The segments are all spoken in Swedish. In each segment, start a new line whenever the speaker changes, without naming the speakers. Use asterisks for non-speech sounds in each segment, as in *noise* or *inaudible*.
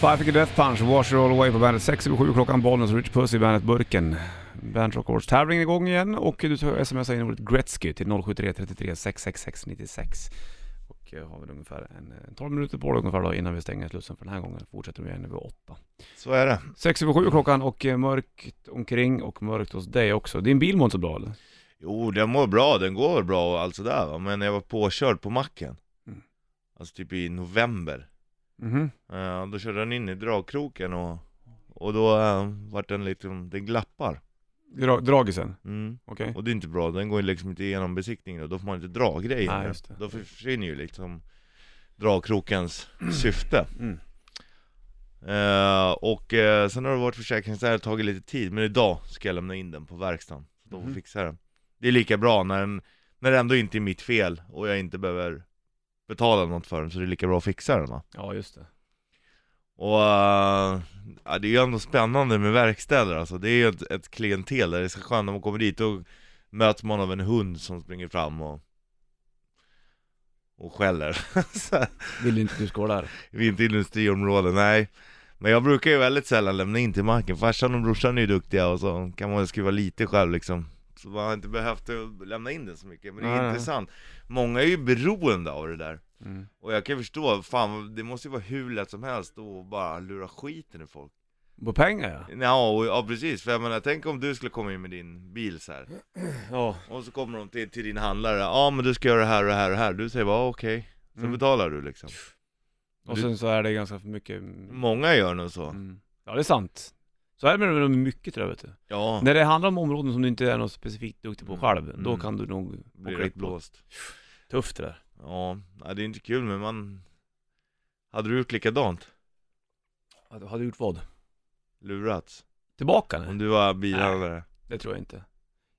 Five Finger Death Punch, Wash It All Away på bandet. 6 över 7 klockan, Bollnäs och Rich Puss i bandet Burken. Band Rock Awards tävlingen är igång igen och du tar smsa in ordet Gretzky till 073 33 666 96. Och eh, har väl ungefär en, eh, 12 minuter på dig ungefär då innan vi stänger slussen för den här gången. Fortsätter vi igen vid 8.
Så är det.
6 över 7 klockan och eh, mörkt omkring och mörkt hos dig också. Din bil mår inte så bra eller?
Jo, den mår bra, den går bra och allt sådär va, men jag var påkörd på macken
Mm.
Alltså typ i november
Mhm.
Eh, Då körde den in i dragkroken och, och då eh, vart den liksom, den glappar
Dra- dragisen?
mm.
Okej.
Och det är inte bra, den går ju liksom inte igenom besiktningen och då får man inte dra grejer
Nej, just det.
Då försvinner ju liksom dragkrokens syfte
Mm.
Eh, Och eh, sen har det varit försäkringsärende, tagit lite tid, men idag ska jag lämna in den på verkstaden Så de
Mhm.
fixar den Det är lika bra när den, när det ändå inte är mitt fel och jag inte behöver betala något för den, så det är lika bra att fixa den va
Ja, just det.
Och eh, ja, det är ju ändå spännande med verkstäder alltså, det är ju ett, ett klientel där det är så skönt när man kommer dit och möts man av en hund som springer fram och och skäller. *laughs* Så,
Vill inte du skålar?
vi är inte i industriområden, nej. Men jag brukar ju väldigt sällan lämna in till marken, farsan och brorsan är ju duktiga och så kan man skruva lite själv liksom. Så man har inte behövt eh, lämna in den så mycket, men det är
Nej, nej.
intressant. Många är ju beroende av det där.
Mm.
Och jag kan förstå, fan det måste ju vara hur lätt som helst att bara lura skiten ur folk.
På pengar ja.
Ja, och, ja precis, för jag menar tänk om du skulle komma in med din bil så här.
Ja.
Och så kommer de till, till din handlare, ja men du ska göra det här och det här och det här Du säger bara "Ah, okej, så
Mm.
betalar du liksom
Och sen så är det ganska för mycket...
Många gör nog så
Mm. Ja, det är sant. Så är det med de mycket tror jag vet du.
Ja,
När det handlar om områden som du inte är något specifikt duktig på
Mm.
själv, då
Mm.
kan du nog
blir
åka
rätt
dit på.
blåst
Tufft det där.
Ja, nej, det är inte kul men man Hade du gjort likadant?
Hade- Hade du gjort vad?
Lurats?
Tillbaka nu?
Om du var bilhandlare?
Det tror jag inte.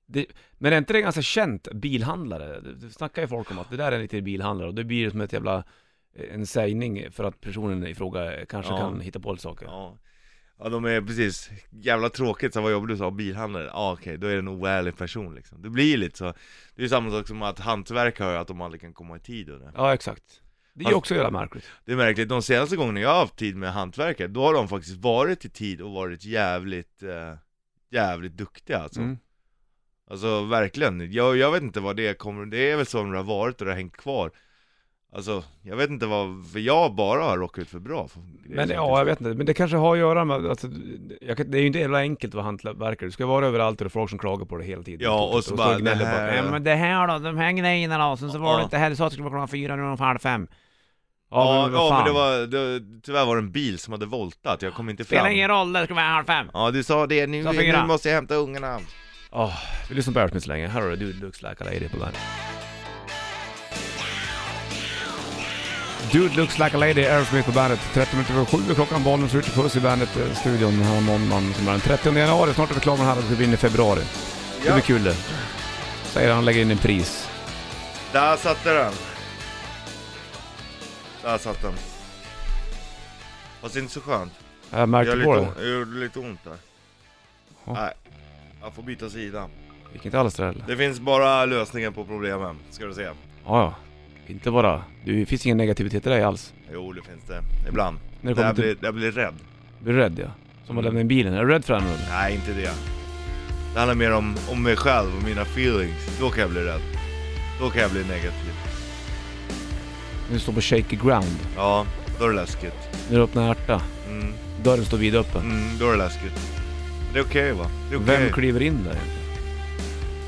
Det, men är inte det ganska känt, bilhandlare? Det, det snackar ju folk om att det där är en riktig bilhandlare och det blir som ett jävla eh, en sägning för att personen i fråga kanske
Ja.
kan hitta på saker.
Ja Ja de är precis, jävla tråkigt så här, vad jobbar du som? Bilhandlare? Ja okej, då är det en oärlig person liksom Det blir ju lite så, det är ju samma sak som att hantverkare att de aldrig kan komma i tid och det
Ja, exakt. Det är ju
Fast-
också jävla märkligt.
Det är märkligt, de senaste gångerna jag har haft tid med hantverkare, då har de faktiskt varit i tid och varit jävligt, eh, jävligt duktiga alltså.
Mm.
Alltså verkligen, jag, jag vet inte vad det kommer, det är väl så det har varit och det har hängt kvar. Alltså, jag vet inte vad, för jag bara har råkat ut för bra. För grejer
Men
som
ja, jag vet inte. Men det kanske har att göra med, alltså, jag, kan- det är ju inte hela enkelt att vara hantverkare. Du ska vara överallt och det är folk som klagar på det hela tiden.
Ja, och så
står
bara,
gnäller
det här-
"Ja, men det här då, de här grejerna då. Sen så var
Ja.
det inte här, du sa att det skulle vara klockan fyra, nu är det halv fem.
Ja, ja,
vad fan.
men det var, det, tyvärr var det en bil som hade voltat, jag kom inte
Spelar
fram.
ingen roll, det ska vara halv fem.
Ja, du sa det, nu,
Ta
nu
fyra.
måste jag hämta ungarna.
Åh, vi lyssnar på Aerosmith så länge. Här har du Dude Looks Like a Lady på bandet. Dude Looks Like a Lady, Aerosmith på bandet. 30 minuter över 7 klockan, Bollnäs Ritchie Puss i bandet, eh, studion här måndagen som är den 30 januari. Snart är vi klara med den här och vi går in i februari. Det
Ja.
blir kul det. Säger han, lägger in en pris.
Där satte den! Där satt den. Fast det är inte så skönt.
Jag
Jag
Äh, märkte
gjorde
på
lite,
det.
ont, jag gjorde lite ont där.
Ja.
Nej, jag får byta sida.
Gick inte alls det heller.
Det finns bara lösningen på problemen, ska du se.
Ja, ja. Inte bara... Det finns ingen negativitet i dig alls.
Jo, det finns det. Ibland.
När det
Där
kommer
jag,
till...
blir, där jag blir rädd.
Blir du rädd ja? Som
Mm.
att lämna in bilen. Är du rädd för den? Roger?
Nej, inte det. Det handlar mer om, om mig själv och mina feelings. Då kan jag bli rädd. Då kan jag bli negativ.
När du står på shaky ground.
Ja, då är det läskigt.
När du öppnar hjärta.
Mm,
Dörren står vidöppen.
mm, då är det läskigt. Det är okej va? Det är okej.
Vem kliver in där egentligen?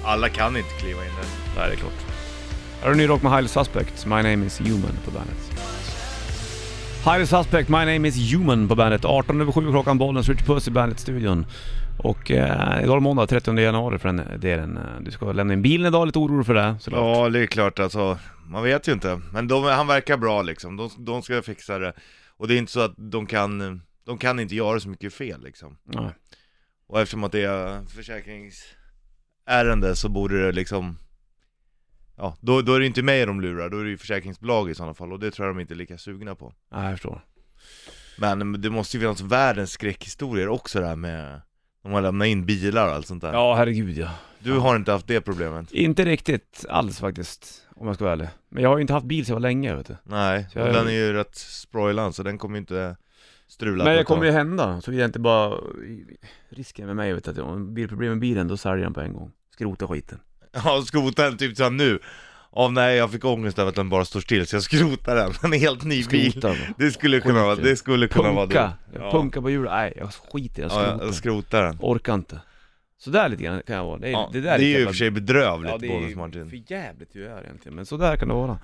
Alla kan inte kliva in där.
Nej, det är klart. Här har du ny rock med Highly Suspect, My Name Is Human på bandet. Highly Suspect, My Name Is Human på bandet. 18 över 7 klockan, Bollnäs, Rich Puss i bandet-studion. Och eh, idag är det måndag 30 januari för den delen. Eh, Du ska lämna in bilen idag, lite orolig för det såklart.
Ja, det är klart alltså. Man vet ju inte. Men de, han verkar bra liksom. De, de ska fixa det. Och det är inte så att de kan, de kan inte göra så mycket fel liksom.
Nej.
Och eftersom att det är försäkringsärende så borde det liksom Ja, då, då är det inte mig de lurar, då är det ju försäkringsbolag i sådana fall och det tror jag de inte är lika sugna på
Nej, jag förstår.
Men det måste ju finnas världens skräckhistorier också det här med De har lämnat in bilar och allt sånt där.
Ja, herregud ja.
Du har inte haft det problemet?
Inte riktigt alls faktiskt, om jag ska vara ärlig. Men jag har ju inte haft bil så jag var länge, vet du.
Nej,
Så jag-
den är ju rätt sproilant så den kommer ju inte
Men
strula på
det
ett tag.
kommer ju hända, så vill jag inte bara... Risken med mig, vet du, att om det blir problem med bilen, då säljer jag den på en gång. Skrota skiten.
*laughs* Ja, skrota den typ såhär nu. Ja, nej jag fick ångest över att den bara står still så jag skrotar den. *laughs* Den är helt ny bil.
Skrota.
Det skulle kunna vara, det skulle kunna vara du.
Punka.
Ja.
Punka på hjulet. Nej, jag skiter i det. Jag
Ja,
skrotar.
jag skrotar den.
Orkar inte. Så där lite grann kan jag vara. Det, är,
Ja,
det, där är
ju i
jävla-
och för sig bedrövligt,
Ja, det är
bonus
ju
Martin.
för jävligt hur jag är egentligen, men så där kan det vara.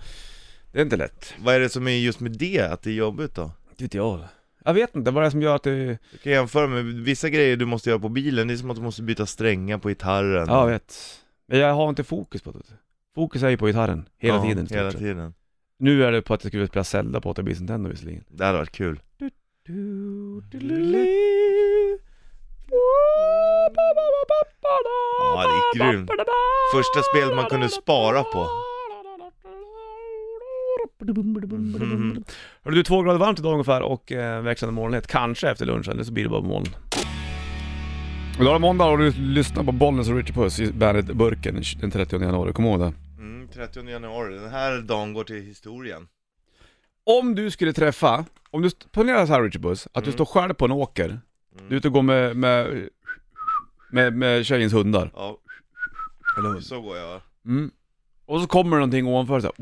Det är inte lätt.
Vad är det som är just med det, att det är jobbigt då?
Det vet jag. Jag vet inte vad det är som gör att det...
Du kan jämföra med vissa grejer du måste göra på bilen, det är som att du måste byta strängar på gitarren.
Ja, jag vet. Men jag har inte fokus på det. Fokus är ju på gitarren, hela
Ja,
tiden. i stort
Hela
sett.
tiden.
Nu är det på att jag skulle spela Zelda på 8 bits Nintendo visserligen.
Det hade varit kul.
Ja,
det är grymt. Första spelet man kunde spara på. Mhm.
Hörru du, två grader varmt idag ungefär och eh, växande molnighet. Kanske efter lunch eller så blir det bara moln. Idag är det måndag och du lyssnar på Bollnäs och Richard Puss i bandet Burken den 30 januari, kom ihåg det.
Mm, 30 januari, den här dagen går till historien.
Om du skulle träffa, om du, st- ponera så här Richard Puss, att du
Mm.
står själv på en åker, du är ute och går med, med, med, med tjejens hundar.
Ja,
Eller hund.
så går jag va?
Mm. Och så kommer det någonting ovanför så här.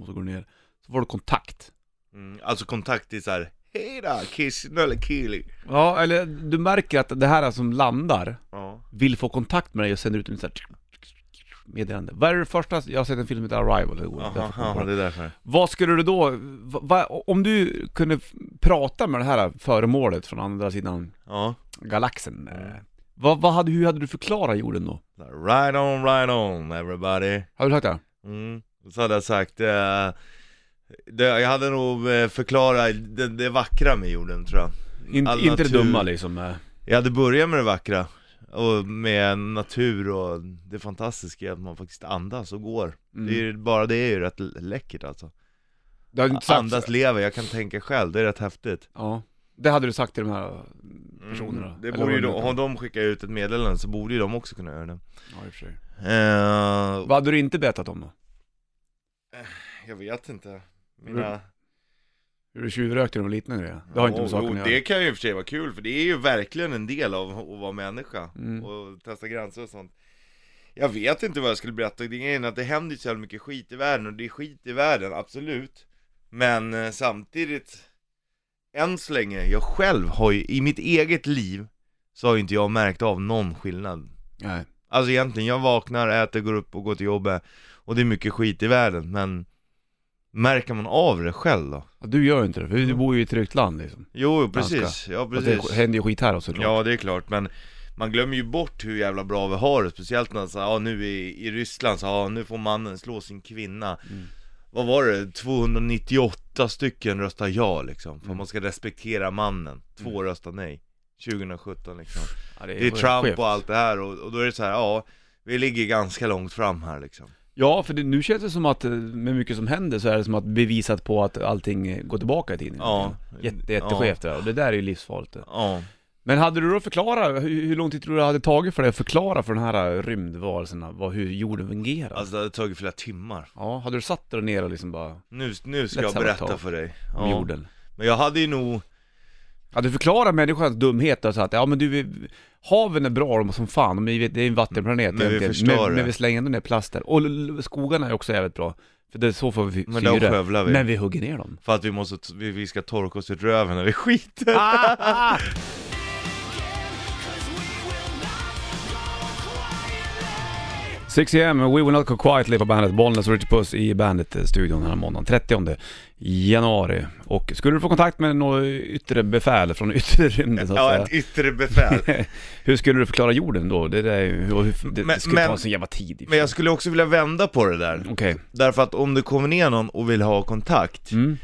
Och så går du ner. Så får du kontakt.
Mm, alltså kontakt i såhär, hej då, kiss, nölle, kili.
Ja, eller du märker att det här som landar
Ja.
vill få kontakt med dig och sänder ut en sån här *laughs* meddelande. Vad är det första, jag har sett en film som heter Arrival. det går
Aha,
därför jag kommer på
aha,
det.
det är därför.
Vad skulle du då, va, va, om du kunde f- prata med det här föremålet från andra sidan
Ja.
galaxen.
Mm.
eh, Vad, vad hade, hur hade du förklarat jorden då?
Right on, right on everybody.
Har du sagt det?
Mm. Så hade jag sagt, eh, det, jag hade nog eh, förklarat det, det vackra med jorden tror jag.
In,
All
inte det
natur.
dumma liksom. eh.
Jag hade börjat med det vackra, och med natur och det fantastiska att man faktiskt andas och går.
Mm.
Det är, ju- bara det är ju rätt läckert alltså.
Du hade inte sagt
Andas, lever, jag kan tänka själv, det är rätt häftigt.
Ja, det hade du sagt till de här personerna?
Mm, det
Eller
borde ju
vad
de,
heter.
om de skickar ut ett meddelande så borde ju de också kunna göra det.
Ja, i och för sig.
Eh,
Vad hade du inte berättat om då?
jag vet inte. Mina...
Hur du tjuvrökte när du var liten och grejer? Det har inte med
Jo,
saken
jo,
att
Det
göra.
kan ju i och för sig vara kul, för det är ju verkligen en del av att vara människa.
Mm.
Och testa gränser och sånt. Jag vet inte vad jag skulle berätta, det är grejen att det händer ju så jävla mycket skit i världen, och det är skit i världen, absolut. Men eh, samtidigt, än så länge, jag själv har ju, i mitt eget liv, så har ju inte jag märkt av någon skillnad.
Nej.
Alltså egentligen, jag vaknar, äter, går upp och går till jobbet, och det är mycket skit i världen, men märker man av det själv då?
Ja, du gör ju inte det, för du bor ju i ett tryggt land liksom.
Jo, jo,
Ganska.
precis. Ja,
Och
precis.
det händer ju skit här också såklart.
Ja det är klart, men man glömmer ju bort hur jävla bra vi har det, speciellt när så, här, ja, nu i, i Ryssland så ja, nu får mannen slå sin kvinna
Mm.
Vad var det? 298 stycken röstar ja liksom, för
Mm.
man ska respektera mannen Två röstar nej 2017 liksom
Ja,
Det är Trump
skevt.
och allt det här och, och då är det så här, ja vi ligger ganska långt fram här liksom
Ja, för det, nu känns det som att eh, med mycket som händer så är det som att bevisat på att allting eh, går tillbaka i tiden.
Ja.
Jätte, jätteskevt det där, och det där är ju livsfarligt. det.
Ja,
Men hade du då förklarat, hur, hur lång tid tror du det hade tagit för dig att förklara för de här eh, rymdvarelserna vad, hur jorden fungerar?
alltså det hade tagit flera timmar
Ja, hade du satt dig ner och liksom bara,
Nu, nu ska
Lätt
jag berätta
sabotage.
för dig
om
ja.
jorden?
Men jag hade ju nog
Ja, du förklarar människans dumhet och så att, ja men du, vi- haven är bra de som fan, men vi vet, det är en vattenplanet
Men vi
egentligen,
förstör
men,
det.
men vi slänger ändå ner plaster. Och l- l- skogarna är också jävligt bra, för det, så får vi
Men då
syre.
skövlar vi.
Men vi hugger ner dem.
För att vi måste, t- vi, vi ska torka oss i röven när vi skiter
Ah! Six AM, We Will Not Go Quietly på bandet Bollnäs och Richard Puss i bandet-studion den här måndagen, 30 januari. Och skulle du få kontakt med något yttre befäl från yttre rymden så att
Ja,
säga,
ett yttre befäl
*laughs* hur skulle du förklara jorden då? Det, där, är ju- och hur, det,
Men-
det skulle
men-
ta en sån jävla tid. i-
Men jag skulle också vilja vända på det där
Okej.
Därför att om det kommer ner någon och vill ha kontakt
Mm.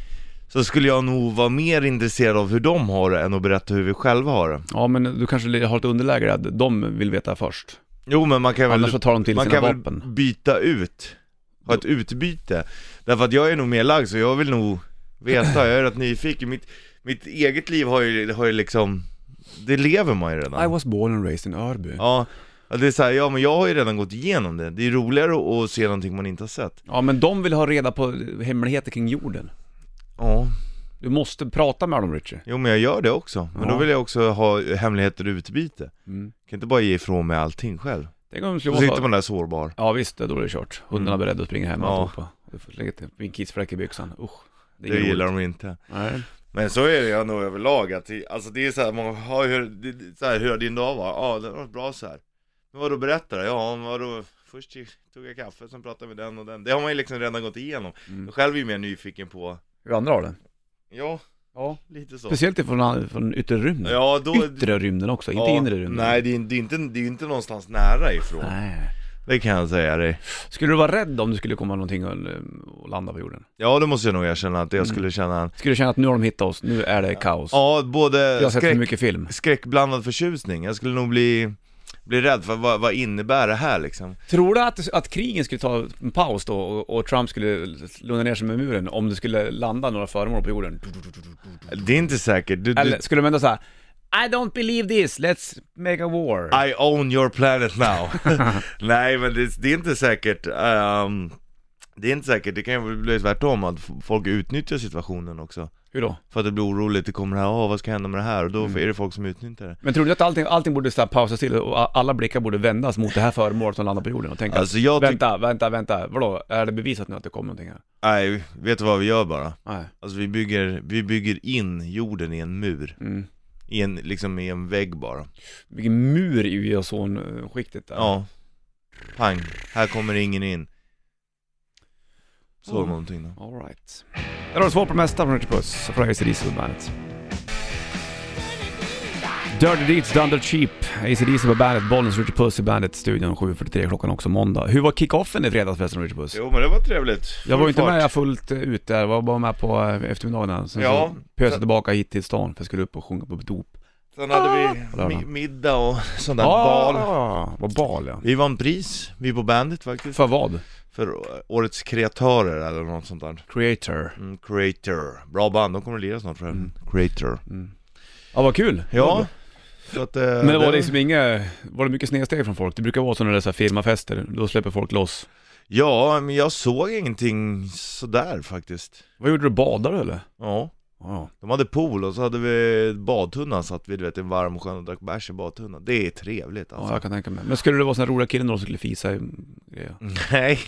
Så skulle jag nog vara mer intresserad av hur de har det än att berätta hur vi själva har det
Ja men du kanske har ett underläge där, att de vill veta först.
Jo men man kan väl,
Annars så tar de till
man
sina
kan
vapen.
väl byta ut Ha ett utbyte Därför att jag är nog mer lagd så jag vill nog veta, jag är rätt nyfiken mitt, mitt eget liv har ju, har ju liksom, det lever man ju redan.
I was born and raised in Örby. Ja,
Ja, ja, det är så här, ja men jag har ju redan gått igenom det. Det är roligare att- att se någonting man inte har sett.
men de vill ha reda på hemligheter kring jorden.
Ja,
Du måste prata med dem Richie.
jo men jag gör det också. Men
Ja.
då vill jag också ha hemligheter och utbyte.
Mm.
Jag kan inte bara ge ifrån mig allting själv.
Tänk om det skulle vara
Så sitter
så.
man där sårbar.
Ja visst, då är det kört. Hundarna är beredda att springa hem och
Mm. Ja.
alltihopa. Du får lägga till en kissfläck i byxan. Usch. Det
Det
är
gillar
gillar
de inte.
Nej.
Men så är det ju ändå överlag att, det- alltså det är såhär, man har ju, det- det- så här, hur har din dag var? Ja, den har varit bra så här. Men vadå berätta då? Ja, men vadå, först tog jag kaffe, sen pratade jag med den och den. Det har man ju liksom redan gått igenom.
Mm.
Jag själv är ju mer nyfiken på,
Hur andra har det?
ja,
Ja.
lite så.
Speciellt ifrån, från yttre rymden.
Ja, då...
Yttre rymden också, inte
ja,
inre rymden.
Nej, det är, det, är inte, det är inte någonstans nära ifrån.
Nej.
Det kan jag säga dig.
Skulle du vara rädd om du skulle komma någonting och, och landa på jorden?
Ja, det måste jag nog erkänna att
Mm.
jag skulle känna.
Skulle du känna att nu har de hittat oss, nu är det kaos?
Ja,
Jag har
både
sett för
skräck,
mycket film.
skräckblandad förtjusning. Jag skulle nog bli, bli rädd för vad, vad innebär det här liksom?
Tror du att, att krigen skulle ta en paus då och, och Trump skulle lugna ner sig med muren om det skulle landa några föremål på jorden?
Det är inte säkert. Du, du,
Eller skulle de ändå säga I don't believe this, let's make a war.
I own your
*laughs*
planet now. *laughs* Nej, men det, det är inte säkert. ehm, det är inte säkert. Det kan ju bli tvärtom, att f- folk utnyttjar situationen också.
Hur då?
För att det blir oroligt, det kommer det här, åh vad ska hända med det här? Och då
Mm.
är det folk som utnyttjar det.
Men tror du att allting, allting borde så här pausas till och a- alla blickar borde vändas mot det här föremålet som landar på jorden och tänka
Alltså jag tycker
Vänta, vänta, vänta, vadå? Är det bevisat nu att det kommer någonting här?
Nej, vet du vad vi gör bara?
Nej.
Alltså vi bygger, vi bygger in jorden i en mur,
Mm.
i en, liksom i en vägg bara
Vilken mur i ozonskiktet där.
Ja, pang, här kommer ingen in Så
Mm.
någonting då
All right. Där har du svar på det mesta från Richard Puss och från ACDC på bandet. Dirty Deeds, Dunder Cheap, ACDC på bandet, Bollnäs, Richard Puss i bandet, studion 7.43 klockan också måndag. Hur var kick-offen i fredags förresten Richard Puss?
Jo men det var trevligt,
Jag var ju inte
Full
med
fart.
fullt eh, ut där, jag var bara med på eh, eftermiddagen. Sen
Ja.
så pösade jag tillbaka hit till stan för jag skulle upp och sjunga på dop.
Sen hade vi
Lördag.
mi- middag och *laughs* sånt där
Ja,
bal
Vad bal ja.
Vi vann pris, vi på Bandit faktiskt
För vad?
För årets kreatörer eller något sånt där
Creator. Mm.
mm, Creator, bra band, de kommer att lira snart tror jag Creator
Ja vad kul!
Mm. Ja, så att, eh,
Men det var liksom inga, var det mycket snedsteg från folk? Det brukar vara så när det är så här firmafester, då släpper folk loss.
Ja, men jag såg ingenting sådär faktiskt.
Vad gjorde du? Badade du eller?
Ja.
Ja.
De hade pool och så hade vi badtunnan, satt vi du vet i en varm sjön och drack bärs i badtunnan. Det är trevligt
ja,
alltså.
jag kan tänka mig. Men skulle det vara sådana roliga killen då som skulle fisa i mm, grejer?
Mm. *laughs* Nej,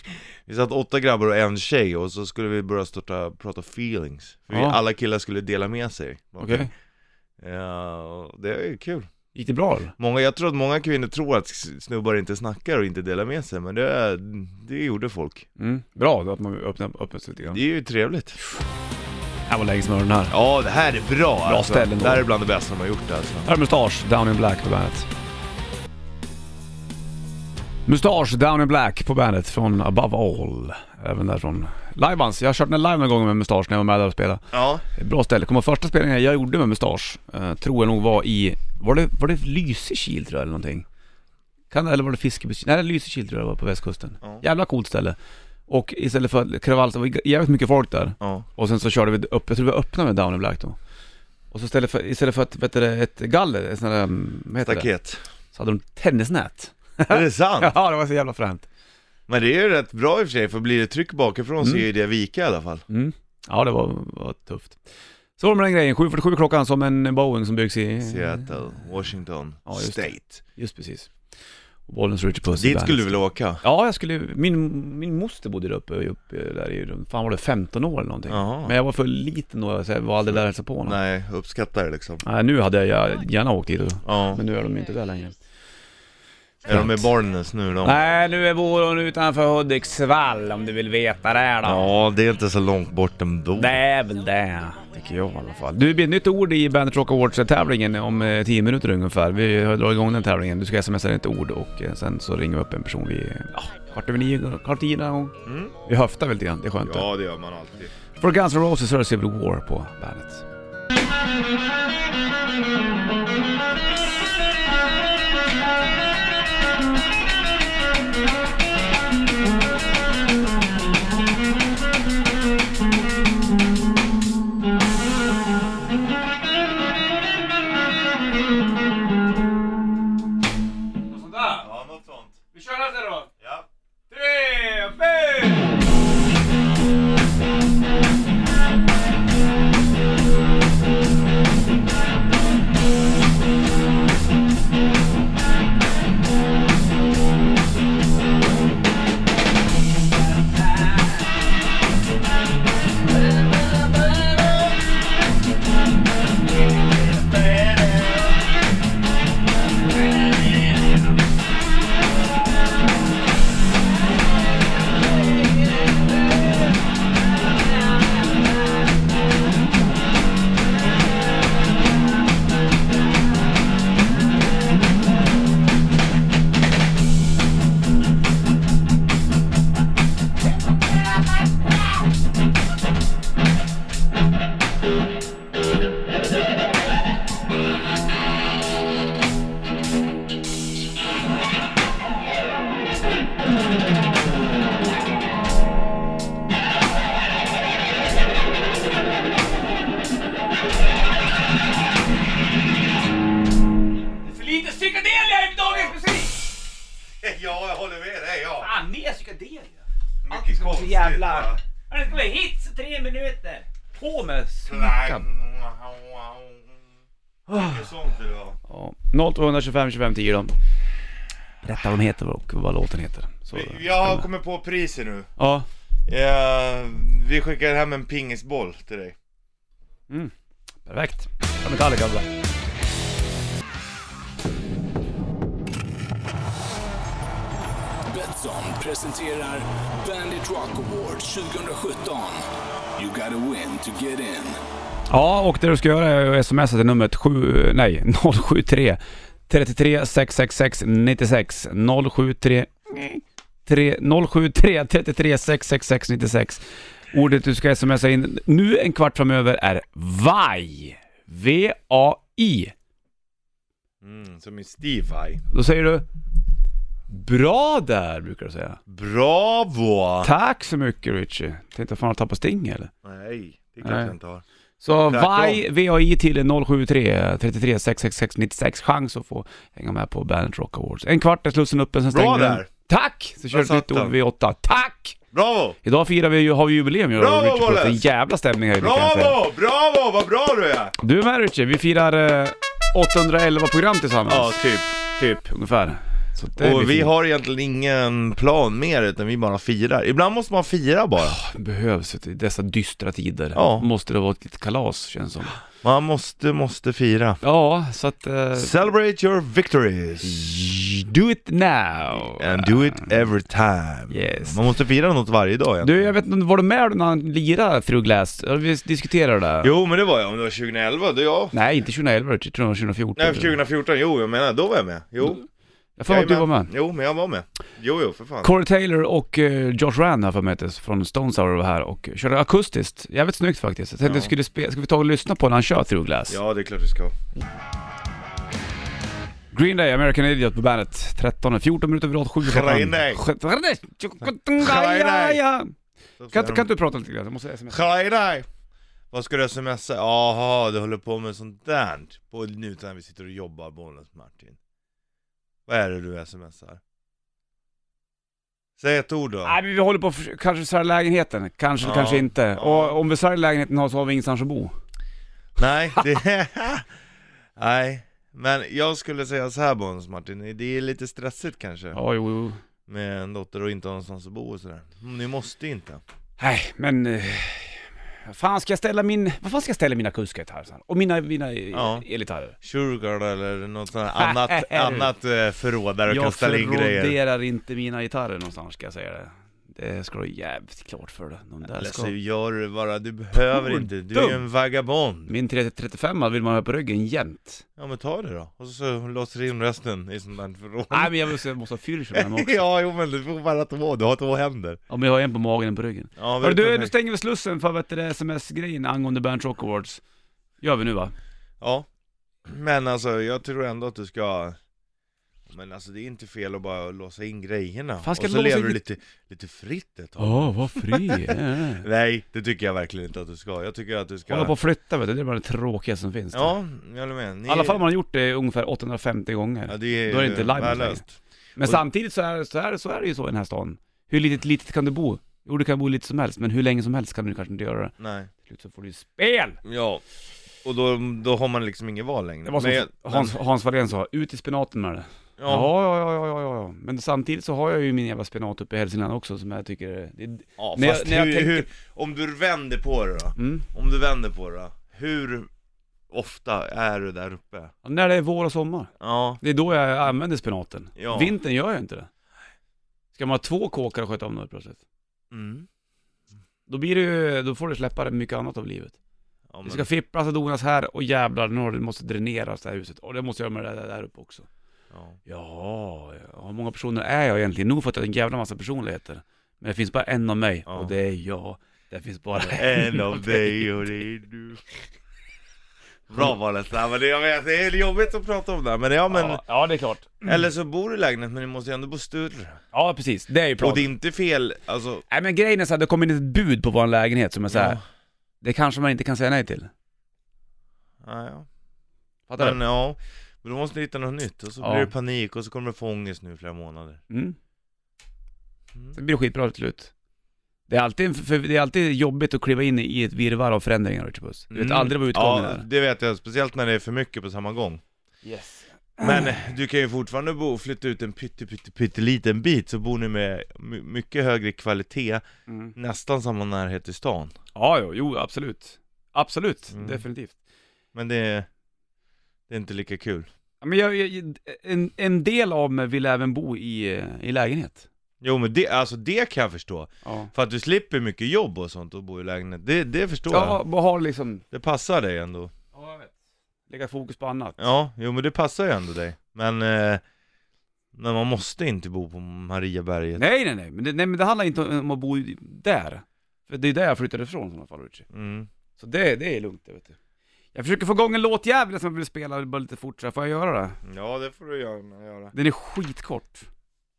vi satt åtta grabbar och en tjej och så skulle vi börja starta, prata feelings. För vi,
Ja.
alla killar skulle dela med sig.
Okej.
Ja, och det är ju kul.
Gick det bra eller?
Många, jag tror att många kvinnor tror att snubbar inte snackar och inte delar med sig, men det, det gjorde folk.
Mm. Bra, då att man öppnar öppnar sig lite grann.
Det är ju trevligt.
Det här var länge sedan den här.
Ja, det här är bra alltså.
ställen då.
Det här är bland det bästa de har gjort alltså.
Här är Mustasch, Down in Black på bandet. Mustasch, Down in Black på bandet från Above All. Även därifrån. Livebands, jag har kört den live någon gång med Mustasch när jag var med där och spelade.
Ja.
Bra ställe. Kommer första spelningen jag gjorde med Mustasch, eh, tror jag nog var i, var det, var det Lysekil tror jag eller någonting? Kan, eller var det Fiskeby? Nej Lysekil tror jag det var på västkusten.
Ja.
Jävla coolt ställe. Och istället för kravall, så var det jävligt mycket folk där.
Ja.
Och sen så körde vi upp, jag tror vi öppnade med Down in Black då. Och så istället för, istället för ett, vet du, det, ett galler, ett sånt där, mm, vad heter det?
*laughs* Staket.
Så hade de tennisnät.
Är det sant?
*laughs* Ja det var så jävla fränt.
Men det är ju rätt bra i och för sig, för blir det tryck bakifrån så är ju det vika i alla fall.
Mm. Ja det var, var tufft. Så var det med den grejen, 7.47 klockan som en Boeing som byggs i...
Seattle, Washington,
Ja, just det.
State.
Just precis. Och Bollnäs Richard Puss i
Dit
bandet.
skulle du vilja åka?
Ja, jag skulle, min, min moster bodde där uppe, uppe där i, fan var det 15 år eller någonting.
Jaha.
Men jag var för liten då, så jag var aldrig där och hälsade på honom. Nej.
Nej, uppskattar det liksom.
nu hade jag gärna åkt dit, och-
Ja.
men nu är de ju inte där längre.
Är de i Barnes nu då?
Nej, nu är våren utanför Hudiksvall om du vill veta det då.
Ja, det är inte så långt bort ändå.
Det är väl det, tycker jag i alla fall. Du, det blir ett nytt ord i Bandet Rock Awards-tävlingen om eh, 10 minuter ungefär. Vi har dragit igång den tävlingen. Du ska smsa ett ord och eh, sen så ringer vi upp en person vid ja, kvart över nio, kvart i någon gång.
Mm.
Vi höftar väl lite grann, det är skönt. det.
Ja, det gör man alltid.
För Guns N' Roses är det Civil War på bandet.
*laughs* konstigt
jävla-
va?
Det ska vara hits tre minuter! På med slickan!
Mycket sånt vill det vara.
Ja. 0225 25 10 då. Berätta vad de heter och vad låten heter. Så,
Vi- Jag har kommit på priset nu.
Ja.
Eh, vi skickar hem en pingisboll till dig.
Perfekt. Ja, Metallica alltså.
Betsson presenterar Bandit Rock Award 2017. You gotta win to get in.
Ja, och det du ska göra är att smsa till numret 7, nej, *laughs* 073 33 666 96 073 3, 073 33 666 96 Ordet du ska smsa in nu en kvart framöver är VAI. V-A-I.
Mm, som i Steve-Eye.
Då säger du Bra där, brukar du säga.
Bravo!
Tack så mycket Richie. Tänkte fan har du tappat sting eller?
Nej, det
Nej.
är klart jag inte har.
Så
Tvärtom.
VAI, VAI till 073 33 666 96 chans att få hänga med på Bandet Rock Awards. En kvart är slussen öppen, sen
Bra
stänger vi den.
där.
Tack! Så kör vi ett
satt
nytt ord
den.
V8. Tack!
Bravo!
Idag firar vi ju, har vi jubileum ju.
Bravo,
Richie Puss. Det är en
Wallace!
jävla stämning här i veckan, kan jag säga.
Bravo! Bravo! Vad bra du är!
Du är med Richie, vi firar eh, 811 program tillsammans.
Ja, typ. Typ.
Ungefär. Så det blir
Och vi
fint.
har egentligen ingen plan mer utan vi bara firar. Ibland måste man fira bara.
Ah. behövs i dessa dystra tider.
Ja.
Måste det vara ett litet kalas känns som.
Man måste, måste fira.
Ja, så att... eh,
Celebrate your victories
do it now!
and do it every time.
Yes.
Man måste fira något varje dag egentligen.
Du, jag vet inte, var du med när han lirade Frugläst? Vi diskuterade det. där.
Jo men det var jag, om det var 2011, då jag.
Nej, inte 2011, jag tror det var 2014.
Nej för 2014, jo jag menar då var jag med. Jo.
Jag får Mm. att du
Jajamän.
var med.
Jo men jag var med. Jo jo för fan.
Corey Taylor och eh, Josh Rand här för mig att det är från Stone Sour var här och körde akustiskt. Jävligt snyggt faktiskt. Jag tänkte
Ja.
skulle spe- ska vi ta och lyssna på när han kör Through Glass?
Ja det är klart du ska.
Green Day, American Idiot på bandet. 13, 14 minuter över 8, 7
Green Day.
Kan, inte- kan inte du prata lite grann? Jag måste smsa.
Hej dig! Vad ska du smsa? Jaha, du håller på med sånt där på nu när vi sitter och jobbar bollens Martin. Vad är det du smsar? Säg ett ord då.
Nej men vi håller på att förs- kanske sälja lägenheten, kanske,
Ja.
kanske inte.
Ja.
Och om vi säljer lägenheten har så har vi ingenstans att bo.
Nej, det... *laughs* Nej, men jag skulle säga så här bollens Martin, det är lite stressigt kanske
Ja, jo, jo.
med en dotter och inte ha någonstans att bo och sådär. Men Ni måste inte.
Nej, men... eh, Vad fan ska jag ställa min... Vad fan ska jag ställa mina akustikgitarrer sen? Och mina, mina eh,
Ja.
elgitarrer?
Sugar eller något sånt
*laughs*
här annat, annat eh, förråd där du kan
Jag
ställa in grejer.
förråderar inte mina gitarrer någonstans ska jag säga det. Det ska du ha jävligt klart för dig. De där
Eller
ska...
så gör du det bara, du behöver
Hur
inte, du är ju en vagabond.
Min 335 vill man ha på ryggen jämt.
Ja men ta det då, och så, så låser du in resten i sånt där förråd
Nej men jag måste, jag måste ha fyrsel med mig också.
*laughs* Ja jo men du får bara två, du har två händer
Ja, men jag har en på magen och en på ryggen.
Ja,
Hörru,
men
du, nu stänger vi slussen för vet du, det sms-grejen angående Bernt Rock Awards. Gör vi nu va?
ja. Men alltså jag tror ändå att du ska Men alltså det är inte fel att bara låsa in grejerna
Fan, ska
Och
jag
så
låsa
lever
in-
du lite, lite fritt ett tag
Ja, vad fri jag *laughs* är.
Nej, det tycker jag verkligen inte att du ska, jag tycker att du ska
Hålla på och flytta vet du, det är bara det tråkiga som finns.
Ja, jag håller med Ni...
I alla fall om man har gjort det ungefär 850 gånger.
ja, det är,
då är det inte live
värdelöst.
men samtidigt så är, så, är, så är det ju så i den här stan. Hur litet, litet kan du bo? Jo, du kan bo lite som helst, men hur länge som helst kan du kanske inte göra det.
Nej,
Till slut så får du ju spel!
ja och då, då har man liksom inget val längre
Det var som
Men jag-
Hans, Hans Wallén sa, ut i spenaten med det.
men- ja.
Ja. Ja, ja, ja, ja, ja, Men samtidigt så har jag ju min jävla spenat uppe i Hälsingland också som jag tycker är... Det,
Ja,
När jag-
fast
när jag
hur,
tänker-
hur, om du vänder på det då,
mm.
om du vänder på det då, hur ofta är du där uppe?
Ja, När det är vår och sommar.
Ja,
Det är då jag använder spenaten.
Ja.
Vintern gör jag inte det. Ska man ha två kåkar och sköta om något plötsligt?
mm.
Då blir det ju, då får du släppa mycket annat av livet.
ja
Det
men,
ska fipplas och donas här och jävlar, nu har det måste dräneras det här huset. Och det måste jag göra med det där, där uppe också.
ja.
Ja, hur många personer är jag egentligen? Nog för att jag har en jävla massa personligheter. Men det finns bara en av mig
Ja.
och det är jag. Det finns bara *laughs*
En av dig och det är du Bra valet, ja, men det, jag vet, det är jobbigt att prata om det här, men ja men, Mm.
Ja, ja, det är klart.
eller så bor du i lägenhet men du måste ju ändå bo större
Ja, precis. Det är ju
Och
pratet.
det är inte fel, alltså
Nej men grejen är så här, det kommer in ett bud på vår lägenhet som är så här.
Ja.
det kanske man inte kan säga nej till.
ja, ja.
Fattar
Men ja, men då måste du hitta något nytt och så
Ja.
blir det panik och så kommer du få ångest nu i flera månader
du? Mm.
Mm.
Det blir skitbra till slut. Det är alltid, för det är alltid jobbigt att kliva in i ett virrvarr av förändringar, Richard Puss. Du vet aldrig vad utgången
Mm. Ja,
är.
det vet jag, speciellt när det är för mycket på samma gång
Yes.
Men eh, du kan ju fortfarande bo, flytta ut en pytte, pytte, pytteliten bit så bor ni med my- mycket högre kvalitet,
Mm.
nästan samma närhet till stan
Ja, jo, jo, absolut. Absolut,
Mm.
definitivt.
Men det, det är inte lika kul
Ja, Men jag, jag, en, en del av mig vill även bo i, eh, i lägenhet.
Jo men det, alltså det kan jag förstå,
Ja.
för att du slipper mycket jobb och sånt och bo i lägenhet, det, det förstår
Ja,
jag
bara ha liksom...
Det passar dig ändå
Ja, jag vet. Lägga fokus på annat.
Ja, jo men det passar ju ändå dig Men, eh, men man måste inte bo på Mariaberget
Nej, nej, nej. Men det, nej, men det handlar inte om att bo i- där. För det är där jag flyttade ifrån i sådana fall, Richie.
mm.
Så det, det är lugnt, det vet du. Jag försöker få igång en låtjävel som jag vill spela bara lite fort så här. får jag göra det?
Ja det får du gärna göra
Den är skitkort.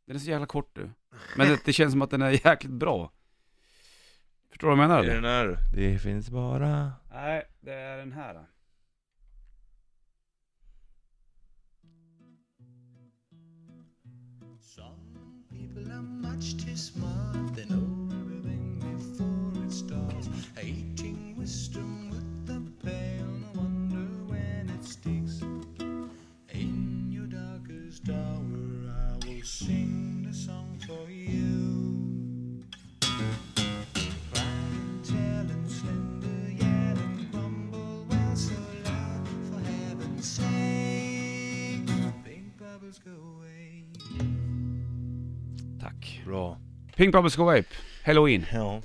Den är så jävla kort du. Men det, det känns som att den är jäkligt bra. Förstår du vad jag menar
Är
eller?
den här? Det finns bara
Nej, det är den här. då.
Some people are much too smart. They know everything before it starts. Eating wisdom with the pail. No wonder when it sticks. In your darkest hour, I will sing the song for you. Cry and tell and slender, yell and grumble, well so loud. For heaven's sake, pink bubbles go away.
Tack.
Bra
Pink Bubbles Go Ape, Halloween.
Ja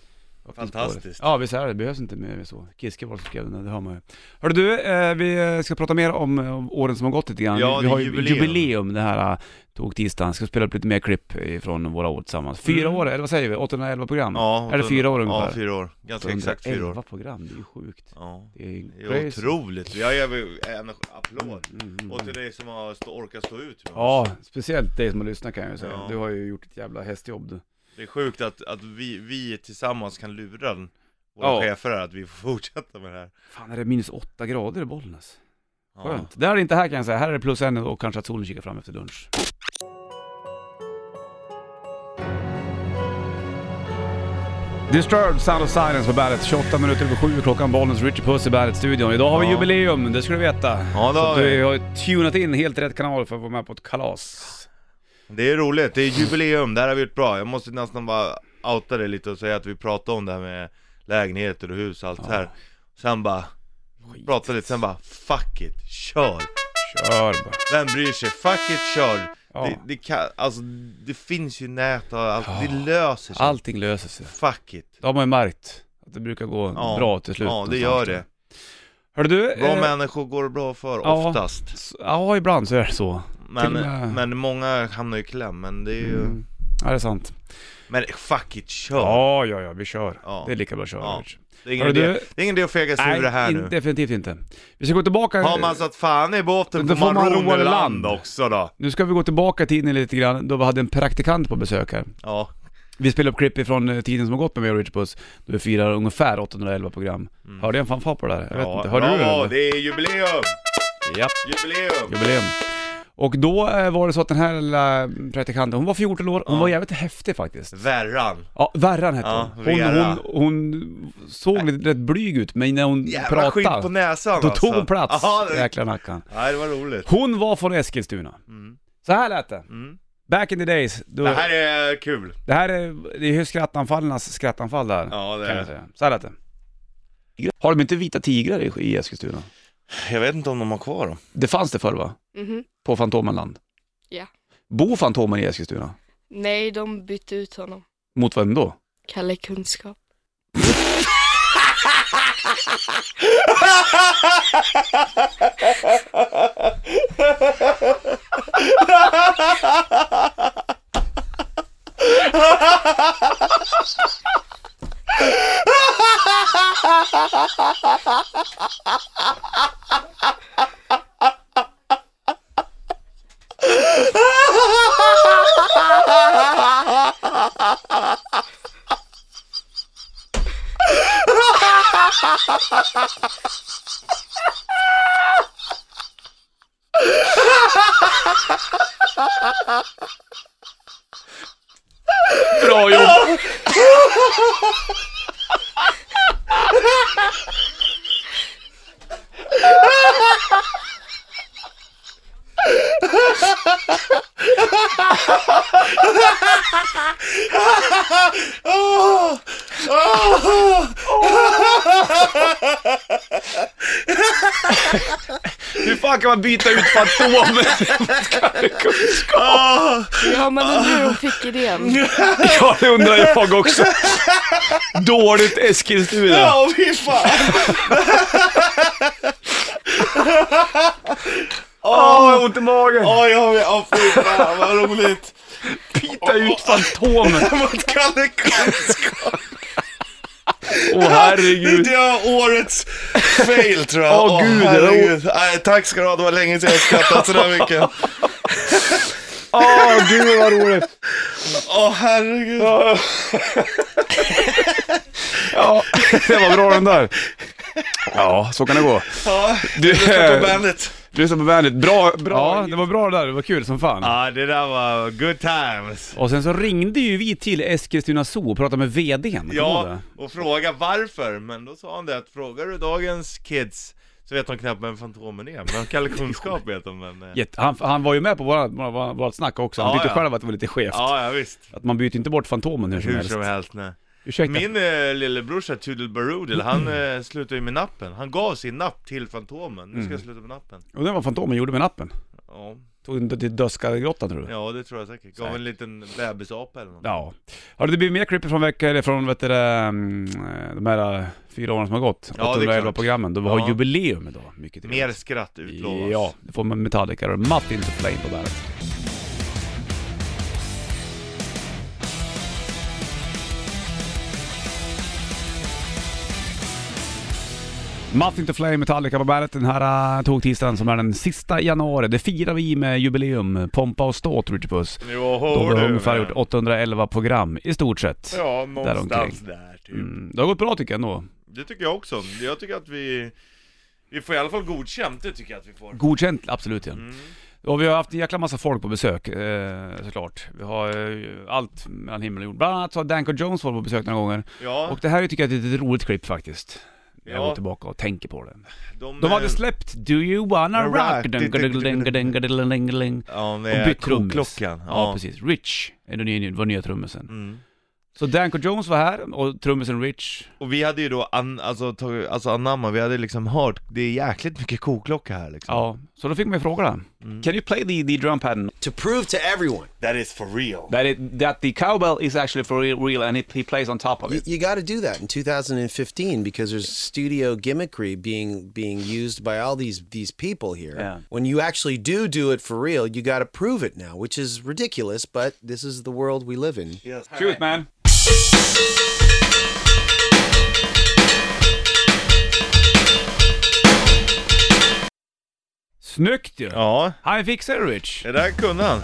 Fantastiskt.
Ja visst är det, det behövs inte mer än så. Kiske var som skrev den, det hör man ju. Hörru du, eh, vi ska prata mer om, eh, om åren som har gått lite grann. vi,
Ja, det
vi
är
har ju
jubileum.
jubileum det här eh, tog tisdagen. Ska spela upp lite mer klipp från våra år tillsammans. Fyra
Mm.
år, eller vad säger vi? 811 program?
Ja,
Är det
då-
fyra år ungefär?
Ja, fyra år. Ganska exakt fyra
111
år.
program, det är ju sjukt.
Ja.
Det är ju
Det är otroligt. Jag ger väl en applåd.
Mm, mm,
Och till dig som har stå, orkat stå ut med
Ja,
oss.
speciellt dig som har lyssnat kan jag ju säga.
Ja.
Du har ju gjort ett jävla hästjobb du.
Det är sjukt att, att vi, vi tillsammans kan lura den- våra
Ja.
chefer här att vi får *laughs* fortsätta med det här.
Fan är det minus åtta grader i Bollnäs?
Ja.
Skönt. Det här är inte här kan jag säga, här är det plus en och kanske att solen kikar fram efter lunch. Disturbed Sound of Silence på bandet, 28 minuter över 7 klockan, Bollnäs Richard Puss i Bandet-studion. Idag har vi
Ja.
jubileum, det ska du veta.
Ja, det
Så
har
att du
vi.
har tunat in helt rätt kanal för att vara med på ett kalas.
Det är roligt. Det är jubileum. Det här har vi gjort bra. Jag måste nästan bara outa det lite och säga att vi pratade om det här med lägenheter och hus och allt det här. Sen bara,
Skit.
pratade lite, sen bara, fuck it, kör!
Kör bara.
Vem bryr sig? Fuck it, kör!
Ja.
Det, det, kan, alltså, det finns ju nät och allt, det löser sig.
Allting löser sig.
Fuck it.
Det har man ju märkt, att det brukar gå
Ja.
bra till slut.
Ja, det
någonstans.
gör det.
Hörru du,
Bra
eh,
människor går det bra för
ja.
oftast.
s- ja ibland så är det så.
Men,
till och med-
men många hamnar ju i kläm, men det är ju...
Mm. Ja, det är sant.
Men fuck it, kör!
Ja, ja, ja, vi kör.
Ja.
Det är lika bra att köra.
Ja.
Rich.
Det, är ingen
Hörru,
idé,
du-
det är ingen idé att fega sig ur det här
in,
nu. alltså-
definitivt inte. Vi ska gå tillbaka...
Har man satt fan i båten
Då
på
får man roa land.
Maroneland också då?
Nu ska vi gå tillbaka i tiden lite grann, då vi hade en praktikant på besök här.
Ja,
Vi spelade upp klipp ifrån eh, tiden som har gått med mig och Richard Puss, då vi firar ungefär 811 program. Hörde jag en fanfar på det där? Jag vet
Mm. ja.
inte, hörde
ja,
du det? eller?
det är jubileum!
Japp.
Jubileum!
Jubileum. Och då eh, var det så att den här lilla praktikanten, hon var 14 år, hon var jävligt häftig faktiskt.
Värran!
Ja, Verran hette
Ja,
hon. Hon,
Vera.
hon. hon såg lite rätt blyg ut, men när hon
Jävla skinn
pratade,
på näsan
då
alltså.
tog hon plats.
Aha, det...
Jäkla nackan.
Nej, det var roligt.
Hon var från Eskilstuna. Så här lät det.
Mm.
Back in the days. Då,
Det
Mm. det, här...
här är kul.
det är, det är ju skrattanfallarnas skrattanfall där.
Ja, det
kan
är
jag säga. Så här lät det. Har de inte vita tigrar i, i Eskilstuna?
Jag vet inte om de har kvar dem.
Det fanns det förr va?
Mhm.
På Fantomenland?
Ja.
Bor Fantomen i Eskilstuna?
Nej, de bytte ut honom.
Mot vem då?
Kalle Kunskap.
Bra jobb! Hur fan kan man byta ut Fantomen mot kunskap?
Ah,
Ja, men undrar hur hon fick idén.
Ja, det undrar jag
*laughs*
också. Dåligt Eskilstuna.
ja, fy fan!
Åh, jag har ont i magen.
Åh, jag med. Åh, fy fan vad roligt!
Byta ut Fantomen.
Mot Kalle Kunskap!
Åh *laughs* herregud.
Det är årets fail tror jag.
Åh, gud,
herregud. Nej, tack ska du ha, det var länge sedan jag skrattat sådär *laughs* mycket.
Åh gud vad roligt.
Åh herregud.
Ja, *laughs* det var bra den där. Ja, så kan det gå. Eh,
Ja,
Du,
lyssna på bandet.
du som på bandet. Bra, bra. Ja, det var bra det där. Det var kul som fan.
Ja, det där var good times.
Och sen så ringde ju vi till Eskilstuna Zoo och pratade med VDn. Kommer du ihåg
Ja,
det?
och fråga varför. Men då sa han det att frågar du dagens kids så vet de knappt vem Fantomen är. Men
*laughs*
Kalle Kunskap vet de. Men, eh,
Jätte- han, han var ju med på vårat våra, våra vårat snack också. Han
Ja,
tyckte
ja.
själv att det var lite skevt.
ja, ja visst.
Att man byter inte bort Fantomen hur som
Hur
helst.
som helst. Nej.
Ursäkta.
Min eh, lillebrorsa Tudel Barudel, han
Mm.
eh, slutade ju med nappen. Han gav sin napp till Fantomen. Nu
Mm.
ska jag sluta med nappen.
Undrar vad Fantomen gjorde med nappen?
Ja,
Tog den till Dödskallegrottan tror du?
ja det tror jag säkert. Gav en liten bebisapa eller något.
Ja. Har det blivit mer klipp från veckan, eller från vet du, det, mm, de här fyra åren som har gått?
det är
811
klart.
programmen. Då vi har
Ja.
jubileum idag. Mycket trevligt.
Mer skratt utlovas.
Ja, det får man Metallica och Matt Into Flame på bandet. Matt Into Flame, Metallica på bandet den här uh, tågtisdagen som är den sista januari. Det firar vi med jubileum, pompa och ståt, Richard Puss.
Jo,
Då
hör
har vi
du.
ungefär gjort 811 program i stort sett.
Ja, någonstans där, typ.
Mm, det har gått bra tycker jag ändå.
Det tycker jag också. Jag tycker att vi... Vi får i alla fall godkänt, det tycker jag att vi får.
Godkänt, absolut ja.
Mm.
Och vi har haft en jäkla massa folk på besök eh, såklart. Vi har eh, allt mellan himmel och jord. Bland annat så har Danko Jones varit på besök några gånger.
Ja,
Och det här tycker jag är ett litet roligt klipp faktiskt. När Jag
Ja.
går tillbaka och tänker på det.
de...
De hade
eh,
släppt Do You Wanna Rock?
Rock.
Dungadungadungadungadungadungadungadung.
Ja,
Och
med
bytt trummis.
koklockan.
Ja, precis. Rich är den nya- var nya trummisen.
Mm.
Så Danko Jones var här och trummisen Rich
Och vi hade ju då, an, alltså, tagit, alltså anamma, vi hade liksom hört, det är jäkligt mycket koklocka här liksom.
Ja, så då fick man ju fråga
Mm.
Can you play the, the drum pattern?
to prove to everyone
That is for real.
That, it, that the cowbell is actually for real, real and it, he plays on top of
you,
it.
you got to do that in 2015 because there's studio gimmickry being being used by all these these people here
Yeah.
when you actually do do it for real you got to prove it now which is ridiculous but this is the world we live in
Shoot man! Snyggt ju!
Ja,
Han fixar det Rich!
det där kunde han.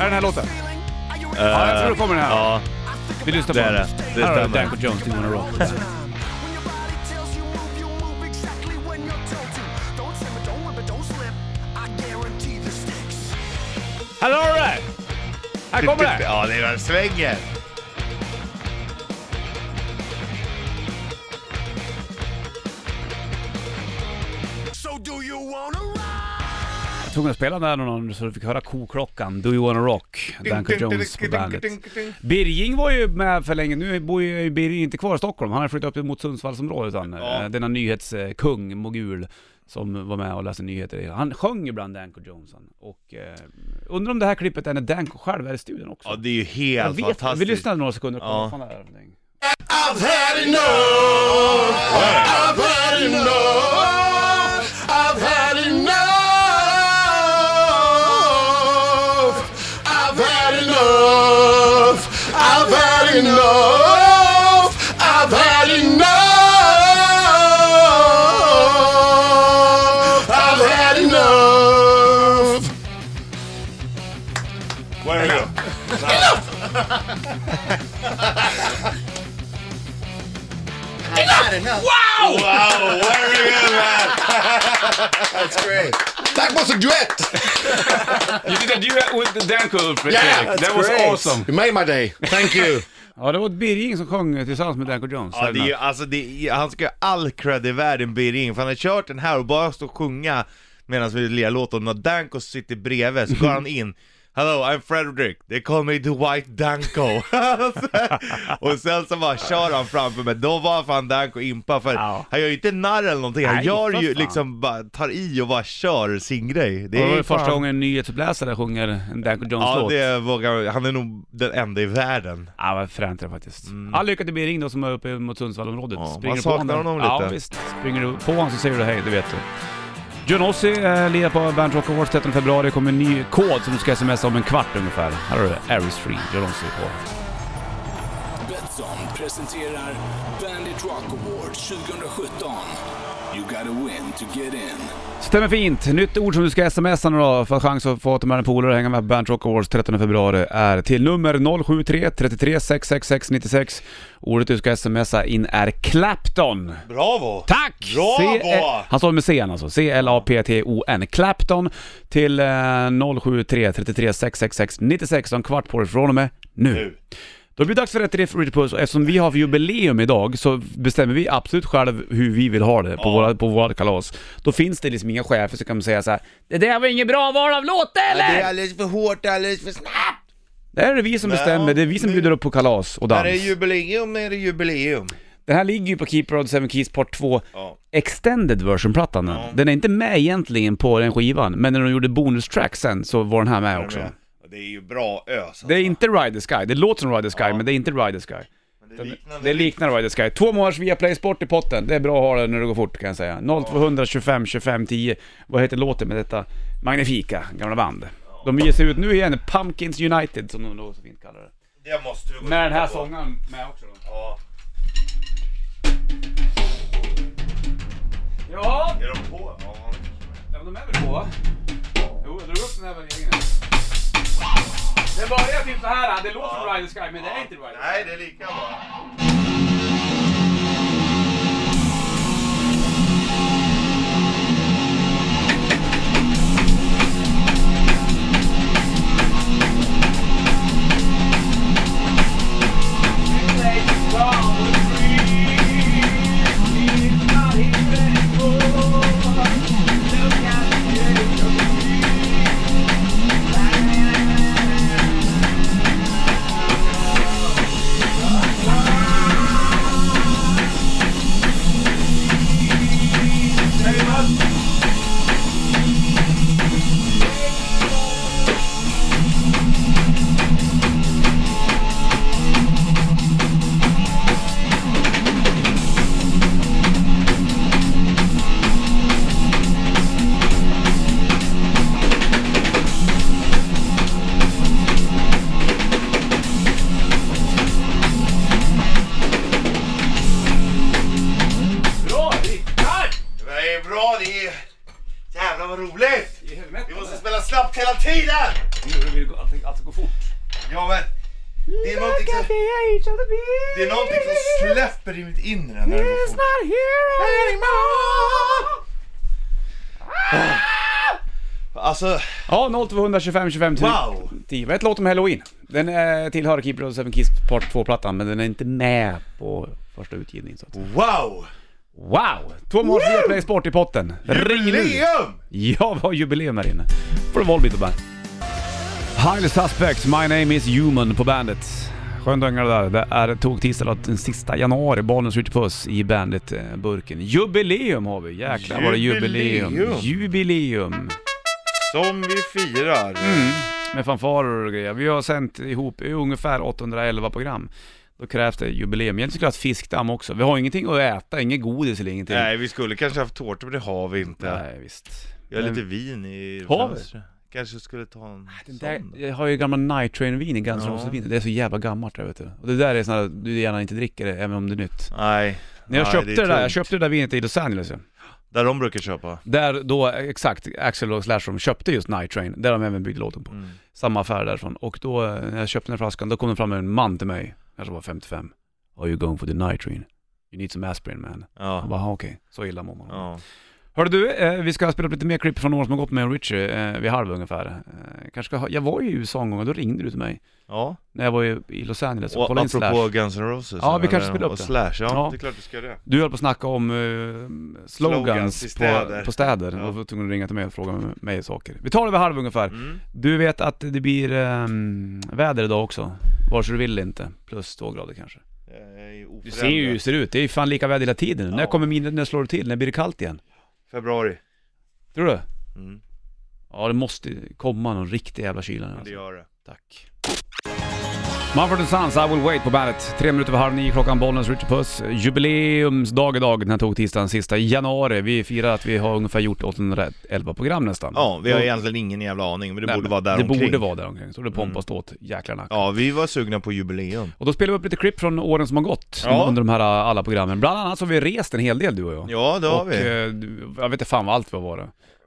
Är den här låten? ja, jag tror det kommer den här.
Ja,
Vi lyssnar på
det är
den.
det. Det
Här har du
stämmer.
Danko Jones, Do You Wanna Rock.
*laughs*
When your body tells you move, you move exactly when you're told to. Don't simmer, don't whimper, don't slip. I guarantee this sticks.
Här har du det! Här kommer det!
Ja, det var svänger.
So do you wanna ride?
Jag tog och spelade den där någon så du fick höra koklockan, Do You Wanna Rock, Danko Jones på bandet. Birging var ju med för länge, nu bor ju Birging inte kvar i Stockholm, han har flyttat upp mot Sundsvallsområdet han.
Ja.
Eh, Denna nyhetskung, mogul, som var med och läste nyheter. Han sjöng ibland Danko Jones han. Och eh, undrar om det här klippet är när Danko själv är i studion också?
Ja, det är ju
jag
helt
vet inte. vi
fantastiskt.
lyssnade några sekunder och kollade
Ja.
vad fan det är för någonting.
I've had enough I've had enough I've had enough I've had enough I've had enough I've had enough I've had enough
Where are you?
Enough! had enough.
Wow, very good man!
That's great.
That was a duet.
You did a duet with Danko, Fredrik.
Yeah,
that
that's
was
great.
awesome.
You made my day. Thank you.
Ja, det var Birging som sjöng tillsammans med Danko Jones.
Ja, det är, ju- alltså, det är, han ska ha all cred i världen Birging, för han har kört den här och bara stå och sjunga medan vi lirar låten, och Danko sitter bredvid så går han in *laughs* Hello, I'm Frederick, they call me the white Danko *laughs* Alltså, Och sen så bara kör han framför mig, då var fan Danko impa för
Ja.
han gör ju inte narr eller någonting, han
Nej,
gör
för
ju
fan.
liksom bara, tar i och bara kör sin grej
Det var
ju
det första
fan-
gången en nyhetsuppläsare sjunger en Danko
Ja
Jones-låt.
det vågar han är nog den enda i världen
Ja, vad fränt det faktiskt. All lycka till Bering då som är uppe mot Sundsvallområdet.
Mm. Ja,
Springer
man
du på
saknar
honom,
honom
Ja,
lite.
visst. Springer du på honom så säger du hej, det vet du. John Ossie eh, lirar på Band Rock Awards 13 februari. Det kommer en ny kod som du ska smsa om en kvart ungefär. Här har du Aries Free, John Ossie på.
Betsson presenterar Bandit Rock Award 2017. You gotta win to get in.
Stämmer fint. Nytt ord som du ska smsa nu då för att chans att få ta med en polare och hänga med på Band Rock Awards 13 februari är till nummer 073 33 666 96. Ordet du ska smsa in är Clapton.
Bravo!
Tack!
Bravo!
C- han står med C alltså, C-L-A-P-T-O-N. Clapton till eh, 073 33 666 96, Du har en kvart på dig från och med nu.
Nu.
Då blir det dags för Rätt Riff Ritty Puss och eftersom vi har för jubileum idag så bestämmer vi absolut själv hur vi vill ha det på, våra, på våra kalas. Då finns det liksom inga chefer som kan säga så här: Det där var inget bra val av låt eller?
är alldeles för hårt, alldeles för snabbt!
Det här är det vi som bestämmer, det är vi som bjuder upp på kalas och dans.
När det är jubileum är det jubileum.
Den här ligger ju på Keeper of the Seven Keys Part 2
Ja.
Extended version-plattan. Den är inte med egentligen på den skivan, men när de gjorde bonustrack sen så var den här med också.
Det är ju bra ös alltså.
Det är inte Ride the Sky, det låter som Ride the Sky, men det är inte Ride the Sky.
det liknar
Det liknar Ride the Sky. Två månaders Viaplay Sport i potten, det är bra att ha det när det går fort kan jag säga. 0200 25 25 10. Vad heter låten med detta magnifika gamla band? De ger sig ut nu igen, Pumpkins United som de då så fint kallar det.
det måste vi gå
Med den här
på.
sången med också då.
Ja.
Ja!
Är de på? Ja.
Ja, men de är väl på va? Jo, jag drog upp den här värderingen. Det börjar typ så här. det låter som Ride the Sky, men det är inte Ride the Sky.
Nej, det är lika bra. Det är bra, det är... Jävlar vad roligt! Vi måste spela snabbt hela tiden!
Alltså gå fort.
Ja men... Det är någonting som, det är någonting som släpper i mitt inre när det går fort. Alltså,
Ja, 0225 25 10.
Wow.
10. Vad heter låten med Halloween? Den eh, tillhör Keeper of the Seven Keys Part 2-plattan, men den är inte med på första utgivningen så att
wow!
Wow! Två mål för Viaplay Sport i potten. Ring nu!
Jubileum!
Ja, vad jubileum här inne. Får du Volbeat på bandet. Highly Suspects, My Name Is Human på bandet. Skönt att hänga det där. Det är tog tisdag den sista januari. Barnens skjuter puss i bandet-burken. Jubileum har vi! Jäklar vad det är jubileum.
Jubileum.
Jubileum!
Som vi firar.
Mm. Med fanfarer och grejer. Vi har sänt ihop i ungefär 811 program. Då krävs det jubileum. Egentligen skulle jag ha ett fiskdamm också. Vi har ingenting att äta, inget godis eller ingenting.
Nej, vi skulle kanske haft tårta men det har vi inte.
Nej visst.
Jag har
Men-
lite vin i
Har vi?
fönstret. Kanske skulle ta en
Den
sån.
där, jag har ju gamla Night Train-vin i Guns N'
Ja.
Roses-vin. Det är så jävla gammalt det vet du. Och det där är sådana du gärna inte dricker det, även om det är nytt.
Nej.
När jag
Nej,
köpte
är
det, där, jag
tungt.
köpte det där vinet i Los Angeles ju.
Där de brukar köpa.
Där då, exakt, Axel och Slashrom köpte just Night Train, där de även byggde låten på. Samma affär därifrån. Och då, eh, när jag köpte den här flaskan, då kom det fram en man till mig, kanske var 55. Are you going for the night train? You need some aspirin man.
Ja.
Jag bara, "Ah, okej, så illa mår man.
Ja.
Hörru du, eh, vi ska spela upp lite mer klipp från året som har gått med Richie, eh, vid halv ungefär. Eh, kanske ska ha, jag var ju i USA en gång och då ringde du till mig.
ja.
När jag var ju i Los Angeles och
Och
kollade in
apropå
Slash.
Guns N' Roses
Ja, vi
eller-
kanske spelar upp
och
det.
Slash, ja,
Ja.
det är klart du ska göra det
Du höll på att snacka om eh, slogans,
Slogans i
På,
städer.
på städer
Ja.
och var tvungen att ringa till mig och fråga mig saker. Vi tar det vid halv ungefär.
mm.
Du vet att det blir ehm, väder idag också, vare sig du vill eller inte. Plus två grader kanske.
Jag är
Du ser ju hur det
oförändrad.
ser ut, det är ju fan lika väder hela tiden. När
Ja.
kommer minnet, när slår det till? När blir det kallt igen?
Februari
Tror du?
mm.
Ja det måste komma någon riktig jävla kyla nu
Det
alltså.
gör det
Tack. Mumford Sons, I will wait på bandet. Tre minuter över halv nio klockan, Bollnäs, Richard Puss. Jubileumsdag idag, den här tog tisdagen sista januari. Vi firar att vi har ungefär gjort 811 program nästan.
Ja, vi har
Och-
egentligen ingen jävla aning, men det
Nej,
borde
men
vara där
Det
omkring. Mm.
borde vara där omkring, så det pompas åt jäklarna.
Ja, vi var sugna på jubileum
Och då spelar vi upp lite klipp från åren som har gått
Ja.
under de här alla programmen. Bland annat så har vi rest en hel del du och jag.
Ja, det har
och,
vi
eh, du- jag vet inte fan vad allt vi har varit.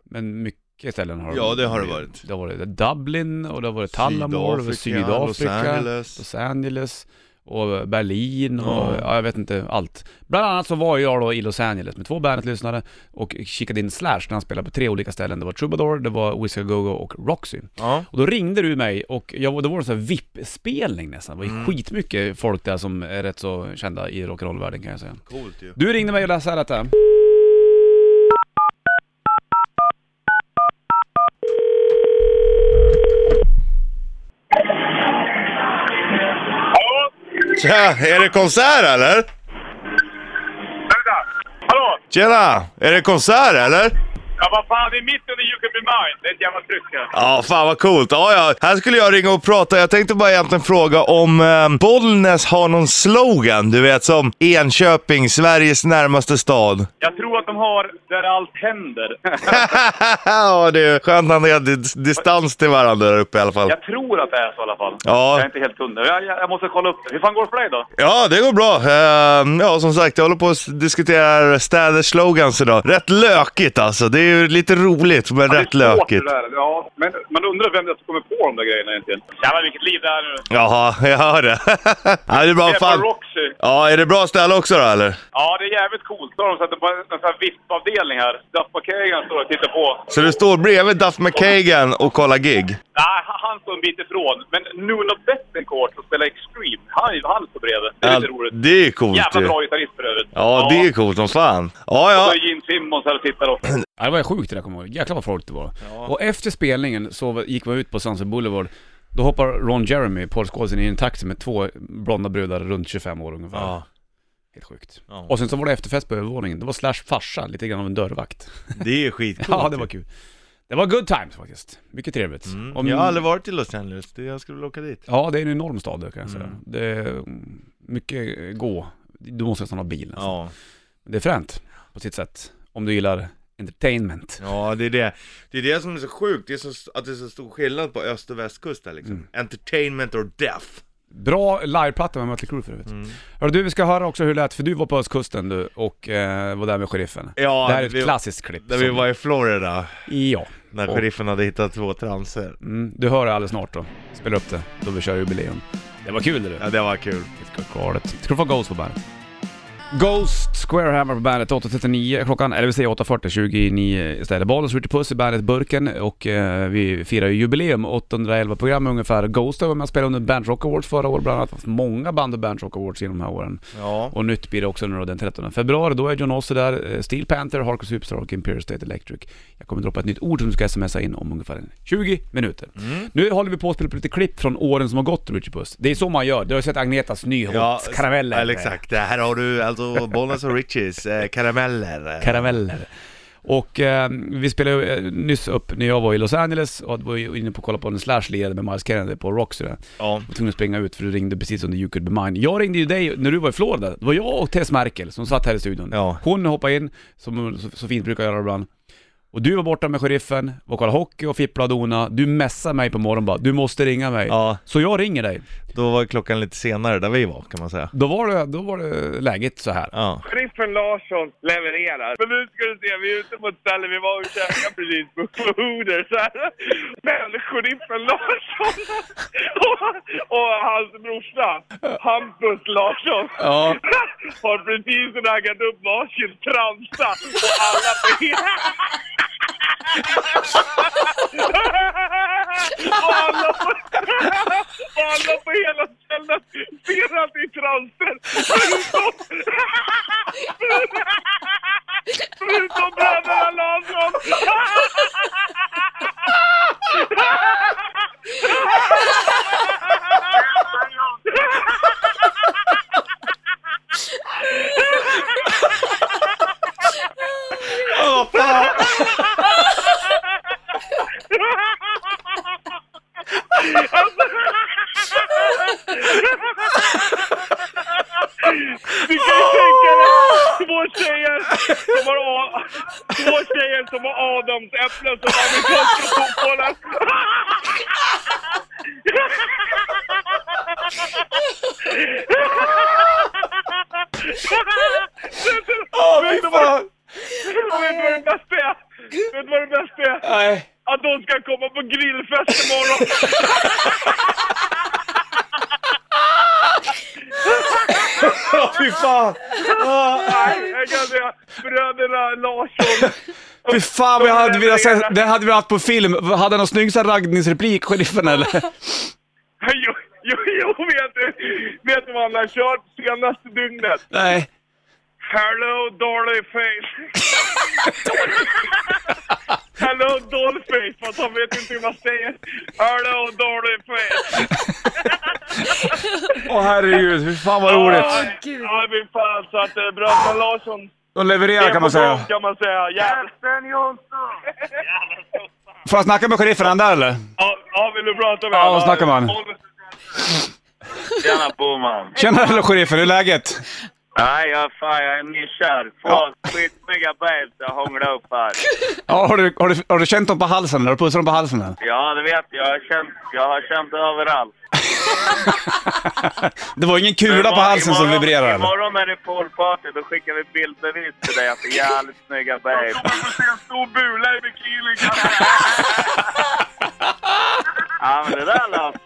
Men mycket ställen har
Ja, det har det varit.
Det har varit Dublin och det har varit Tallamore, Sydafrika, Sydafrika
Los Angeles
Los Angeles och Berlin och ja.
Ja.
jag vet inte allt. Bland annat så var jag då i Los Angeles med två Bandet-lyssnare och kikade in Slash när han spelade på tre olika ställen. Det var Troubadour, det var Whiskey Go Go och Roxy.
Ja,
Och då ringde du mig och jag, var- det var en sån här VIP-spelning nästan. Det var ju
Mm.
skitmycket folk där som är rätt så kända i rock'n'roll-världen kan jag säga.
coolt ju
Du ringde mig och läste här äh, detta.
Hallå?
Tja, är det konsert eller?
Vänta! Hallå?
Tjena, är det konsert eller?
Ja, vad fan, vi är mitt under You Could Be Mine. Det är ett jävla tryck här.
Ja, fan vad coolt. Ja, ja. Här skulle jag ringa och prata. Jag tänkte bara egentligen fråga om eh, Bollnäs har någon slogan. Du vet som Enköping, Sveriges närmaste stad.
Jag tror att de har Där allt
*laughs*
händer.
ja, det är skönt att ni har dis- distans till varandra där uppe i alla fall.
jag tror att det är så i alla fall.
Ja.
Jag är inte helt hundra. Jag, jag, jag måste kolla upp det. Hur fan går det för dig då?
Ja, det går bra. Ehm, ja, som sagt, jag håller på att diskutera städers slogans idag. Rätt lökigt alltså. Det är ju lite roligt, men rätt
Det är svårt
lökigt.
det där. Ja, men man undrar vem det är som kommer på de där grejerna egentligen. Jävlar vilket liv det är nu.
Jaha, jag hör det. *laughs* ja, det är bra.
det är
Fan.
på Roxy.
Ja, är det bra ställe också då, eller?
Ja, det är jävligt coolt. Så har de satt det på en en sån här VIP-avdelning här. Duffa Kagan står och tittar på.
Så du står bredvid Duff McKagan och kollar gig?
Nej, han- han står en bit ifrån. Men Nuno Bettencourt som spelar Extreme, han, han står bredvid. Det är lite roligt.
det är coolt
Jävla
ju.
bra gitarrist för övrigt.
Ja, det är coolt som fan. Ja,
Så
ja.
är Gene Simmons här och tittar och...
Ja, det var sjukt det där kommer jag ihåg. Jäklar vad folk det var. Och efter spelningen så gick man ut på Sunset Boulevard. Då hoppar Ron Jeremy, Paul Skålsen, i en taxi med två blonda brudar runt 25 år ungefär.
Ja.
Helt sjukt.
Ja.
Och sen så var det efterfest på övervåningen. Det var Slash farsa, lite grann av en
*laughs*
dörrvakt.
Det är skitcoolt.
*laughs* ja, det var kul. Det var good times faktiskt. Mycket trevligt. Om-
Mm. Jag har aldrig varit i Los Angeles. Det- Jag skulle vilja åka dit.
Ja, det är en enorm stad det kan jag säga. Det är mm, mycket eh, gå. Du måste nästan ha bil. Alltså.
Ja.
Det är fränt på sitt sätt. Om du gillar entertainment.
Ja, det är det. Det är det som är så sjukt, det är så, att det är så stor skillnad på öst och västkust där liksom. Entertainment or death.
Bra liveplatta med Mötley Crüe för övrigt.
Mm.
Hörru du, vi ska höra också hur det lät, för du var på östkusten du och eh, var där med sheriffen.
Ja,
det här är ett
vi-
klassiskt klipp.
Där vi
som-
var i Florida,
Ja.
när
Och-
sheriffen hade hittat två transer.
Mm, du hör det alldeles snart då. Spela upp det, då vi kör jubileum. Det var kul det du.
Ja, det var kul.
Helt galet. Ska du få Ghost på bandet? Ghost, Squarehammer på bandet, 8.39 klockan, eller vi säger 8.40, 29 istället. Bollens Ritchie Puss i bandet Burken och eh, vi firar ju jubileum, 811 program ungefär. Ghost har varit med och spelat under Band Rock Awards förra året bland annat, haft många band och Band Rock Awards genom de här åren.
Ja.
Och nytt blir det också nu då den 13 februari, då är John Ossie där, eh, Steel Panther, Hardcore Superstar och Imperial State Electric. Jag kommer droppa ett nytt ord som du ska smsa in om ungefär 20 minuter.
Mm.
Nu håller vi på att spela upp lite klipp från åren som har gått, Richie Puss. Det är så man gör, du har ju sett Agnetas
Ja,
nyhållskarameller.
eller exakt. Det Här har du alltså Bollnäs och Richies eh, karameller.
Karameller. Och eh, vi spelade ju, eh, nyss upp när jag var i Los Angeles och var ju inne på att kolla på en slash lirade med Miles Kennedy på Roxy där.
ja.
var tvungen att springa ut för du ringde precis under You Could Be Mine. Jag ringde ju dig när du var i Florida. Det var jag och Tess Merkel som satt här i studion.
Ja.
Hon hoppade in, som hon så, så fint brukar göra ibland. Och du var borta med sheriffen, var och kollade hockey och fipplade och dona. Du messade mig på morgonen bara, du måste ringa mig.
ja,
Så jag ringer dig.
då var klockan lite senare där vi var kan man säga.
Då var det, då var det läget så här.
Ja.
Sheriffen Larsson levererar. Men nu ska du se, vi är ute på ett ställe, vi var och käkade precis på Hooters här. Men sheriffen Larsson och, och hans brorsa, Hampus Larsson.
Ja.
har precis raggat upp varsin transa och alla och alla på, och alla på hela stället ser att det är transer. Förutom, förutom bröderna Larsson. Ni kan ju tänka er två tjejer som har, A- två tjejer som har adamsäpplen som amerikanska fotbollen.
Åh fy fan!
Vet du vad det bästa är? Vet du vad det bästa är?
Nej.
Att de ska komma på grillfest imorgon.
Åh fy fan!
Nej, jag kan säga bröderna Larsson.
Fy fan vad jag hade velat se, det hade vi haft på film. Hade han någon snygg sån här raggningsreplik, sheriffen eller?
*laughs* Jo, jo, jo vet, du, vet du vad han har kört senaste dygnet?
Nej.
Hello,
*laughs*
Dollface. Hello, Dollface. Fast han vet inte hur man säger. Hello, Dollface.
Åh herregud, fy fan vad roligt.
Gud.
Ja, fy fan. Så att eh, bröderna Larsson.
De levererar kan man säga.
Kan man säga. Jävelsen Jonsson.
Får jag snacka med sheriffen han där eller?
Ja, ja, vill du prata med
Ja,
honom?
vad snackar man?
Tjena Boman.
Tjena hallå sheriffen, hur är läget?
Nej, jag, fan, jag är nykär. Fan, skitsnygga babes jag hånglar upp här.
Ja, har, du, har, du, har du känt dem på halsen eller? Har du pussat dem på halsen eller?
Ja, det vet jag. Jag har känt, jag har känt överallt.
Det var ingen kula på
Imorgon-
halsen som
imorgon-
vibrerade eller?
Imorgon är det poolparty. Då skickar vi bildbevis till dig att det är jävligt snygga babes. Jag kommer få se en stor bula i bikini. ja, men det där löser